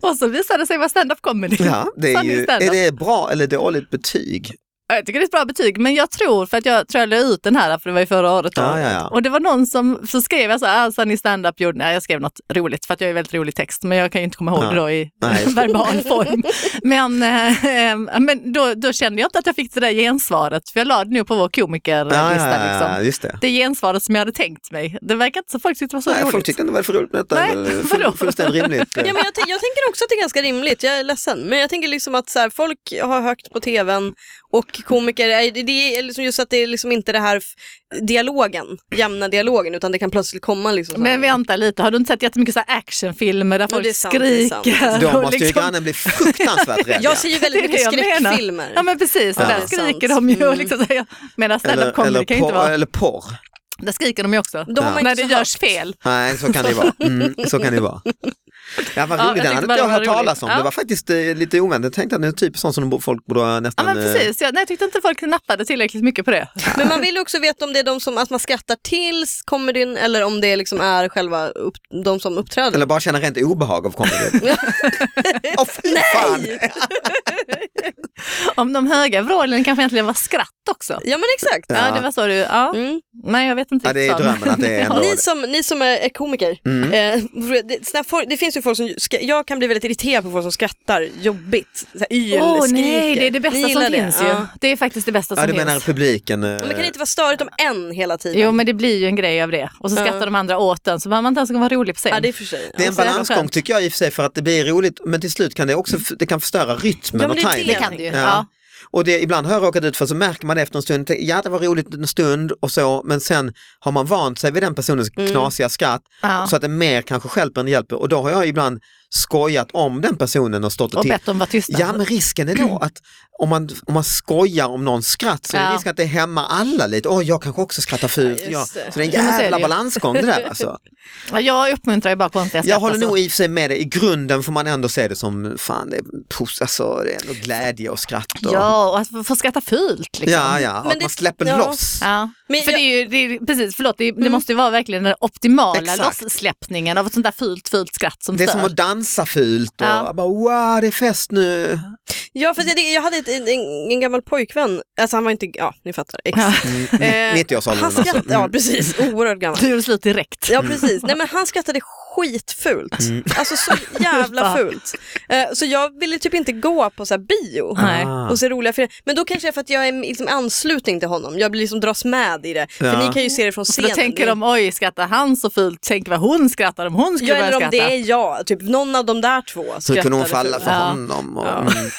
Speaker 4: och så visade det sig vara stand-up comedy.
Speaker 2: Ja, det är,
Speaker 4: Sanning
Speaker 2: ju,
Speaker 4: stand-up.
Speaker 2: är det bra eller dåligt betyg?
Speaker 4: Ja, Jag tycker det är ett bra betyg, men jag tror, för att jag tror jag la ut den här, för det var ju förra året då.
Speaker 2: Ja, ja, ja.
Speaker 4: Och det var någon som, så skrev jag så här, alltså ni stand-up gjorde, nej jag skrev något roligt, för att jag är väldigt rolig text, men jag kan ju inte komma ihåg
Speaker 2: Ja.
Speaker 4: det då i
Speaker 2: Nej, just det.
Speaker 4: verbal form. Men, eh, eh, men då, då kände jag inte att jag fick det där gensvaret, för jag la det nu på vår komikerlista. liksom.
Speaker 2: just det.
Speaker 4: Det gensvaret som jag hade tänkt mig, det verkar inte så folk tyckte var så
Speaker 2: Nej, folk
Speaker 4: roligt.
Speaker 2: tyckte inte det var för roligt med detta.
Speaker 4: Nej,
Speaker 2: Nej, väl,
Speaker 4: vadå?
Speaker 2: full, fullständigt rimligt.
Speaker 3: Ja, men jag, tän- jag tänker också att det är ganska rimligt, jag är ledsen. Men jag tänker liksom att så här, folk har högt på tvn och komiker, är- det- det är liksom just att det är liksom inte det här f- dialogen, jämna dialogen, utan det kan plötsligt komma liksom så här-
Speaker 4: Men vänta lite, har du inte sett jättemycket så här actionfilmer där
Speaker 3: Jo,
Speaker 4: folk
Speaker 3: det är sant, det är sant.
Speaker 4: skriker?
Speaker 2: Då
Speaker 4: och
Speaker 2: måste ju
Speaker 4: liksom-
Speaker 2: grannen bli fruktansvärt rädd. ja.
Speaker 3: Jag ser ju väldigt
Speaker 4: Det är
Speaker 3: mycket
Speaker 4: det jag menar.
Speaker 3: skräckfilmer.
Speaker 4: Ja men precis, och
Speaker 2: Ja.
Speaker 4: där
Speaker 3: Det är
Speaker 4: skriker
Speaker 3: sant.
Speaker 4: de ju.
Speaker 3: Mm.
Speaker 4: Liksom, så här, medan stand-up
Speaker 2: eller,
Speaker 4: comedy
Speaker 2: eller,
Speaker 4: kan ju inte
Speaker 2: porr,
Speaker 4: vara.
Speaker 2: eller porr.
Speaker 4: Där skriker de ju också.
Speaker 3: Då har
Speaker 2: Ja.
Speaker 3: man
Speaker 4: När
Speaker 3: inte
Speaker 4: det
Speaker 3: så
Speaker 4: görs
Speaker 3: högt.
Speaker 4: fel.
Speaker 2: Nej, så kan det vara. Mm, så kan det vara. Ja, vad
Speaker 4: Ja, jag
Speaker 2: roligt, den
Speaker 4: tyckte
Speaker 2: hade
Speaker 4: bara
Speaker 2: inte jag
Speaker 4: det var
Speaker 2: hört talas
Speaker 4: roligt.
Speaker 2: om.
Speaker 4: Ja.
Speaker 2: Det var faktiskt eh, lite oväntat. Jag tänkte att det är typ sånt som de bo- folk borde
Speaker 4: Ja
Speaker 2: nästan...
Speaker 4: men
Speaker 2: eh,
Speaker 4: precis, jag, nej, jag tyckte inte folk nappade tillräckligt mycket på det.
Speaker 3: Men man vill ju också veta om det är de som, att man skrattar tills comedyn eller om det liksom är själva upp, de som uppträder.
Speaker 2: Eller bara känna rent obehag av comedy. Åh fy fan!
Speaker 4: Om de höga vrålen kanske egentligen var skratt också.
Speaker 3: Ja men exakt.
Speaker 4: Ja, det var så du, ja.
Speaker 3: Mm.
Speaker 4: Nej, jag vet inte
Speaker 2: Ja, det är
Speaker 4: riktigt vad,
Speaker 2: drömmen att det är
Speaker 4: men-
Speaker 2: ändå-
Speaker 3: Ni, som, ni som är är komiker,
Speaker 2: Mm.
Speaker 3: eh, det, såna här folk, det finns ju folk som, skra- jag kan bli väldigt irriterad på folk som skrattar jobbigt. Så här, yl,
Speaker 4: Åh nej,
Speaker 3: skriker.
Speaker 4: det är det bästa
Speaker 3: Ni
Speaker 4: som
Speaker 3: gillar det?
Speaker 4: finns ju.
Speaker 3: Ja.
Speaker 4: Det är faktiskt det bästa
Speaker 2: Ja, du
Speaker 4: som
Speaker 2: menar
Speaker 4: finns.
Speaker 2: publiken? eh,
Speaker 3: Men kan det inte vara störigt om en hela tiden?
Speaker 4: Jo, men det blir ju en grej av det. Och så
Speaker 3: Ja.
Speaker 4: skrattar de andra åt den, så behöver man inte ens vara rolig på scen.
Speaker 3: ja, det är för sig.
Speaker 2: Det är
Speaker 3: Ja.
Speaker 2: en
Speaker 4: så är det
Speaker 2: balansgång
Speaker 4: skönt.
Speaker 2: tycker jag i och för sig för att det blir roligt men till slut kan det också det kan förstöra rytmen
Speaker 3: Ja, men
Speaker 2: och
Speaker 3: det är
Speaker 4: Det
Speaker 2: tajmingen.
Speaker 4: kan det ju.
Speaker 2: Ja.
Speaker 4: Ja.
Speaker 2: Och det, ibland har jag råkat ut för så märker man efter en stund, ja det var roligt en stund och så men sen har man vant sig vid den personens knasiga skratt
Speaker 4: Mm. Ja.
Speaker 2: så att det mer kanske stjälper än hjälper och då har jag ibland skojat om den personen och stått och,
Speaker 4: Och
Speaker 2: tittat.
Speaker 4: bett dem vara tysta.
Speaker 2: Ja men risken är då att om man, om man skojar om någons skratt så är det
Speaker 4: Ja.
Speaker 2: risk att det hämmar alla lite. Åh, jag kanske också skrattar fult.
Speaker 3: Ja,
Speaker 2: Ja,
Speaker 3: just
Speaker 2: så
Speaker 3: det.
Speaker 2: det är en
Speaker 4: Ja, men så är det
Speaker 2: jävla
Speaker 4: ju.
Speaker 2: balansgång det där alltså.
Speaker 4: Ja, Jag uppmuntrar ju bara konstiga skratt.
Speaker 2: Jag håller
Speaker 4: alltså.
Speaker 2: nog i och för sig med dig. I grunden får man ändå se det som fan, det är, pos- alltså, det är ändå glädje och skratt. Och,
Speaker 4: Ja, och att få- få skratta fult liksom.
Speaker 2: ja, ja, och
Speaker 3: Men
Speaker 2: att
Speaker 3: det-
Speaker 2: man släpper
Speaker 3: ja.
Speaker 2: loss.
Speaker 4: Ja.
Speaker 3: Men Mm.
Speaker 4: för
Speaker 3: jag-
Speaker 4: det är ju, det är, precis, förlåt, det, det måste ju vara verkligen den optimala
Speaker 2: Exakt.
Speaker 4: lossläppningen av ett sånt där fult, fult skratt som
Speaker 2: Det är
Speaker 4: stör.
Speaker 2: som att dansa fult och
Speaker 4: Ja.
Speaker 2: bara wow, det är fest nu.
Speaker 3: Ja, för jag, jag hade ett, en, en, en gammal pojkvän, alltså han var inte, ja ni fattar. Ex.
Speaker 4: Ja.
Speaker 3: Eh,
Speaker 2: 90-årsåldern
Speaker 3: han skrattade,
Speaker 2: alltså.
Speaker 3: ja precis, oerhört gammal.
Speaker 4: Du gjorde slut direkt.
Speaker 3: Ja precis, nej men han skrattade skitfult.
Speaker 2: Mm.
Speaker 3: Alltså så jävla fult. Eh, Så jag ville typ inte gå på så här bio.
Speaker 4: Nej.
Speaker 2: Ah.
Speaker 3: Och se roliga filmer. Men då kanske det är för att jag är liksom anslutning till honom. Jag blir liksom dras med i det.
Speaker 2: Ja.
Speaker 3: För ni kan ju se det från
Speaker 4: För
Speaker 3: scenen.
Speaker 4: då tänker de, oj skrattar han så fult, tänk vad hon skrattar om hon skulle
Speaker 3: ja,
Speaker 4: börja
Speaker 3: eller om
Speaker 4: skratta.
Speaker 3: det är jag. Typ någon av de där två
Speaker 2: Så typ kunde hon
Speaker 3: skrattade
Speaker 2: falla
Speaker 3: fult.
Speaker 2: för
Speaker 4: Ja.
Speaker 2: honom. Och,
Speaker 3: Ja.
Speaker 2: mm,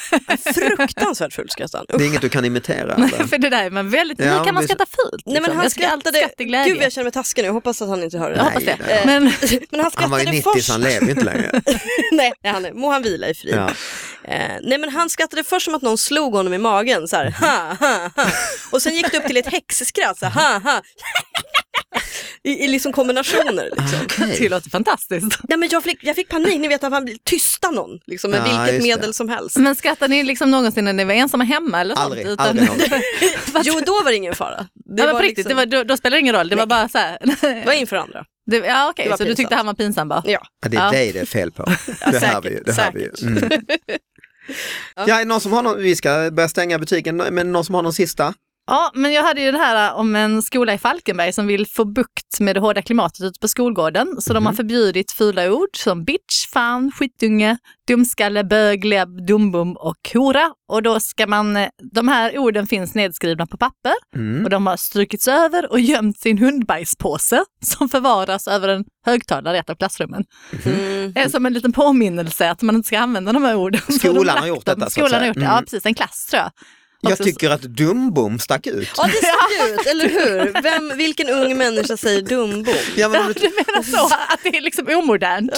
Speaker 3: Fruktansvärt fult skrattade han.
Speaker 2: det
Speaker 3: Usch.
Speaker 2: är inget du kan imitera.
Speaker 4: Nej,
Speaker 2: eller?
Speaker 4: för det där är man väldigt,
Speaker 2: Ja,
Speaker 4: hur
Speaker 2: men
Speaker 4: kan man
Speaker 2: det-
Speaker 4: skratta fult?
Speaker 3: Nej men
Speaker 4: liksom?
Speaker 3: han
Speaker 4: Jag ska alltid
Speaker 3: skrattade,
Speaker 4: skratta i glädje.
Speaker 3: gud jag känner mig taskig nu, jag hoppas att han inte hör det.
Speaker 4: Jag hoppas
Speaker 2: Nej,
Speaker 4: det.
Speaker 2: nej.
Speaker 4: Men,
Speaker 3: Men han
Speaker 2: Han var ju 90
Speaker 3: skrattade först.
Speaker 2: så han lever ju inte längre.
Speaker 3: nej, han, må han vila i frid.
Speaker 2: Ja.
Speaker 3: Eh, nej men han skrattade först som att någon slog honom i magen så här,
Speaker 2: Mm.
Speaker 3: ha, ha, ha. Och sen gick det upp till ett häxskratt så här, ha, ha. I, I liksom kombinationer. Liksom.
Speaker 4: det
Speaker 2: Ah, Okej.
Speaker 4: låter fantastiskt.
Speaker 3: Nej, men jag, fick, jag fick panik, ni vet att man vill tysta någon liksom, med
Speaker 2: Ja,
Speaker 3: vilket
Speaker 2: just det.
Speaker 3: medel som helst.
Speaker 4: Men skrattar ni liksom någonsin när ni var ensamma hemma eller
Speaker 2: Aldrig,
Speaker 4: sånt?
Speaker 2: aldrig någonsin.
Speaker 3: Jo, då var det ingen fara.
Speaker 4: Det var, liksom- på riktigt, det var, då, då spelade det ingen roll, det var bara så här.
Speaker 3: det var inför andra.
Speaker 4: Det, ja, okej,
Speaker 3: Det var
Speaker 4: så du tyckte
Speaker 3: pinsamt.
Speaker 4: han var pinsam bara?
Speaker 3: Ja.
Speaker 2: Ja, det är
Speaker 4: Ja.
Speaker 2: dig det är fel på. Det hör vi ju. Det hör vi ju.
Speaker 3: säkert.
Speaker 2: Mm. Ja, är det någon som har någon, vi ska börja stänga butiken, men någon som har någon sista?
Speaker 4: Ja, men jag hade ju det här äh, om en skola i Falkenberg som vill få bukt med det hårda klimatet ute på skolgården. Så de har förbjudit fula ord som bitch, fan, skitunge, dumskalle, bög, lebb, dumbum och hora. Och då ska man, eh, de här orden finns nedskrivna på papper
Speaker 2: Mm.
Speaker 4: och de har strukits över och gömt sin hundbajspåse som förvaras över en högtalare i ett av klassrummen.
Speaker 2: Mhm.
Speaker 3: Mm.
Speaker 4: Det är som en liten påminnelse att man inte ska använda de här orden. Så
Speaker 2: Skolan
Speaker 4: de
Speaker 2: har
Speaker 4: lagt
Speaker 2: gjort
Speaker 4: dem.
Speaker 2: detta, så att
Speaker 4: Skolan har
Speaker 2: säga.
Speaker 4: gjort det,
Speaker 2: Mm.
Speaker 4: ja precis, en klass tror jag.
Speaker 2: Jag
Speaker 4: Också Alltså, så-
Speaker 2: tycker att Dumbom stack ut.
Speaker 3: Ja, det stack ut, eller hur? Vem, vilken ung människa säger dumbom?
Speaker 2: Ja, men om du-
Speaker 4: Du menar så, att det är liksom omodernt?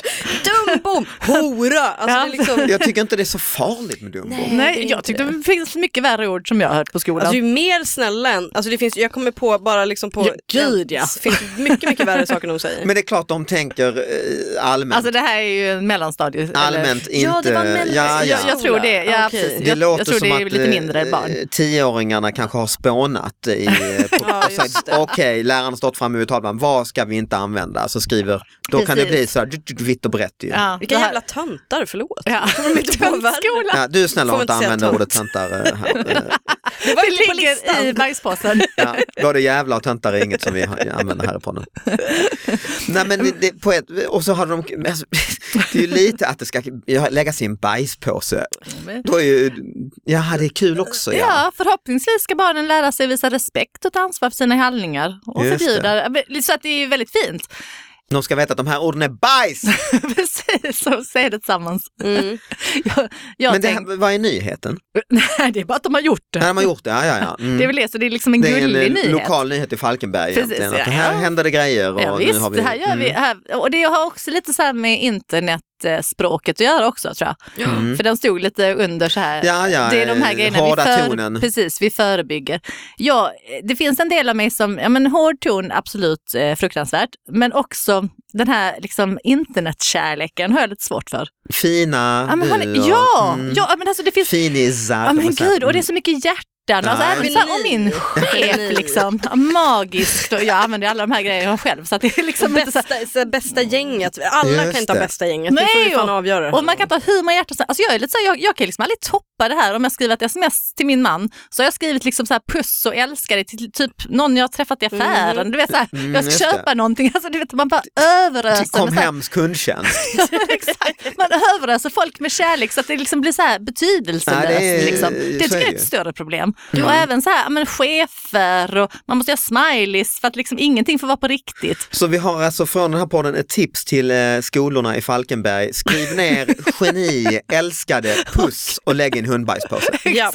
Speaker 3: Dumbom! Hora! Alltså, det är liksom...
Speaker 2: Jag tycker inte det är så farligt med Dumbo.
Speaker 3: Nej. det är
Speaker 4: Nej,
Speaker 3: inte
Speaker 4: jag tyckte
Speaker 3: det.
Speaker 4: det finns mycket värre ord som jag har hört på skolan.
Speaker 3: Alltså ju mer snälla än, alltså det finns, jag kommer på bara liksom på,
Speaker 4: Ja, gud, ja.
Speaker 3: det finns mycket, mycket värre saker de säger.
Speaker 2: Men det är klart de tänker eh, allmänt.
Speaker 4: Alltså det här är ju en mellanstadie. eller-
Speaker 2: allmänt inte...
Speaker 3: Ja, det var mellan-
Speaker 2: ja, ja.
Speaker 4: Jag, jag tror det, ja,
Speaker 3: Okej.
Speaker 4: precis.
Speaker 2: Det
Speaker 4: Jag,
Speaker 2: låter
Speaker 4: jag tror
Speaker 2: som
Speaker 4: det är
Speaker 2: att
Speaker 4: lite mindre
Speaker 2: eh,
Speaker 4: barn.
Speaker 2: tioåringarna kanske har spånat i... eh, på-
Speaker 3: Ja,
Speaker 2: och sagt,
Speaker 3: just det.
Speaker 2: Okej, läraren har stått framme vid tavlan, vad ska vi inte använda? Så skriver, då kan det
Speaker 4: Precis.
Speaker 2: bli så här, du- du- du- vitt och brett ju. Ja.
Speaker 4: Ja,
Speaker 3: Vilka
Speaker 4: det här-
Speaker 3: jävla töntar, förlåt.
Speaker 4: Ja.
Speaker 3: de inte på världen?
Speaker 4: Skolan.
Speaker 2: du är snäll
Speaker 3: Får
Speaker 2: och
Speaker 3: man
Speaker 2: inte
Speaker 3: inte
Speaker 2: använda
Speaker 3: säga tönt?
Speaker 2: ordet töntar eh, här. Eh,
Speaker 3: Det var
Speaker 4: Det
Speaker 3: inte på
Speaker 4: ligger
Speaker 3: listan.
Speaker 4: i bajspåsen.
Speaker 2: Ja, både jävla och töntar är inget som vi har- använder här på nu. Nej, men det, det, på ett, och så har de, men alltså, det är ju lite att det ska läggas i en bajspåse. Då är ju, ja det är kul också. Ja.
Speaker 4: Ja, förhoppningsvis ska barnen lära sig visa respekt och ta ansvar för sina handlingar och
Speaker 2: Just
Speaker 4: förbjuda. men- Så att det är ju väldigt fint.
Speaker 2: De ska veta att de här orden är bajs.
Speaker 4: Precis, och säga det tillsammans.
Speaker 3: Mm.
Speaker 4: Jag, jag
Speaker 2: Men det,
Speaker 4: tänkte,
Speaker 2: här- vad är nyheten?
Speaker 4: nej, det är bara att de har gjort det.
Speaker 2: Ja, de har gjort det, ja ja ja. Mm.
Speaker 4: Det är väl det, så det är liksom en
Speaker 2: Det är en
Speaker 4: gullig
Speaker 2: eh,
Speaker 4: nyhet.
Speaker 2: lokal nyhet i Falkenberg
Speaker 4: Precis,
Speaker 2: egentligen. Att
Speaker 4: ja,
Speaker 2: här
Speaker 4: ja.
Speaker 2: händer det grejer. Och
Speaker 4: Ja, visst,
Speaker 2: nu har vi,
Speaker 4: det här gör vi.
Speaker 2: Mm.
Speaker 4: Här, och det har också lite så här med internetspråket att göra också tror jag.
Speaker 2: Mm.
Speaker 4: För den stod lite under så här.
Speaker 2: Ja, ja,
Speaker 4: det är de här
Speaker 2: eh,
Speaker 4: grejerna
Speaker 2: hårda
Speaker 4: vi,
Speaker 2: tonen.
Speaker 4: för, precis, vi förebygger. Ja, eh, det finns en del av mig som, ja men hård ton absolut eh, fruktansvärt, men också den här liksom internetkärleken har jag lite svårt för.
Speaker 2: Fina
Speaker 4: Ja, men, har
Speaker 2: du
Speaker 4: ni,
Speaker 2: och-
Speaker 4: ja,
Speaker 2: mm.
Speaker 4: ja men alltså det finns
Speaker 2: Finisar.
Speaker 4: Ja
Speaker 2: kan
Speaker 4: men
Speaker 2: man säga.
Speaker 4: gud, och det är
Speaker 2: Mm.
Speaker 4: så mycket hjärtan hjärtan. Alltså,
Speaker 2: Nej.
Speaker 4: även så här, och min
Speaker 3: Geni.
Speaker 4: chef liksom, magisk. Då, jag använder ju alla de här grejerna själv. Så att det är liksom inte så här,
Speaker 3: Bästa, så bästa gänget. Alla
Speaker 2: Just
Speaker 3: kan inte ha
Speaker 2: det.
Speaker 3: bästa gänget. Nej,
Speaker 4: Nej,
Speaker 3: det får vi fan
Speaker 4: och-
Speaker 3: avgöra.
Speaker 4: och man kan ta hur många hjärtan som alltså jag, är lite så här, jag, jag kan liksom aldrig toppa det här. Om jag skriver ett sms till min man så har jag skrivit liksom så här, puss och älskar dig till typ någon jag har träffat i affären. Du vet, så här,
Speaker 2: Mm,
Speaker 4: jag
Speaker 2: just
Speaker 4: ska köpa
Speaker 2: det.
Speaker 4: någonting. Alltså, du vet, man bara
Speaker 2: Till
Speaker 4: överöser. med så här-
Speaker 2: Comhems kundtjänst.
Speaker 4: Exakt. Man överöser folk med kärlek så att det liksom blir så här betydelselöst.
Speaker 2: Nej, det
Speaker 4: det,
Speaker 2: är-
Speaker 4: liksom. det
Speaker 2: så
Speaker 4: tycker
Speaker 2: är
Speaker 4: jag
Speaker 2: det
Speaker 4: är ett
Speaker 2: ju. Mm.
Speaker 4: större problem. Och även så här, ja, men chefer och man måste göra smileys för att liksom ingenting får vara på riktigt.
Speaker 2: Så vi har alltså från den här podden ett tips till eh, skolorna i Falkenberg. Skriv ner geni, älskade, puss och lägg i en hundbajspåse.
Speaker 3: ja.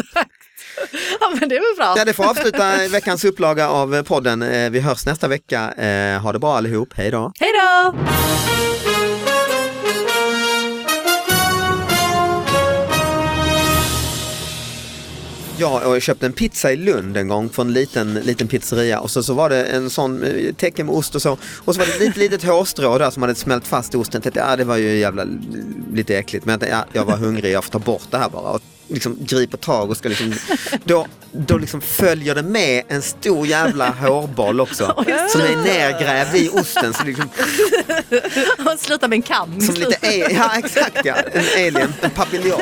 Speaker 4: Ja men det är väl bra.
Speaker 2: Ja, det får avsluta veckans upplaga av eh, podden. Eh, Vi hörs nästa vecka. Eh, Ha det bra allihop. Hej då!
Speaker 4: Hej då!
Speaker 2: Ja, och jag köpte en pizza i Lund en gång från en liten, liten pizzeria och så, så var det en sån eh, tecken med ost och så. Och så var det ett litet, litet hårstrå där som hade smält fast i osten. Jag tänkte, ah, det var ju jävla l- lite äckligt. Men jag, tänkte, ja, jag var hungrig, jag får ta bort det här bara. Och liksom griper tag och ska liksom... Då, då liksom följer det med en stor jävla hårboll också. Som är nergrävd i osten. Så liksom, e-
Speaker 4: Och sluta med en kam.
Speaker 2: som lite... a- Ja, exakt ja. En alien, en papiljon.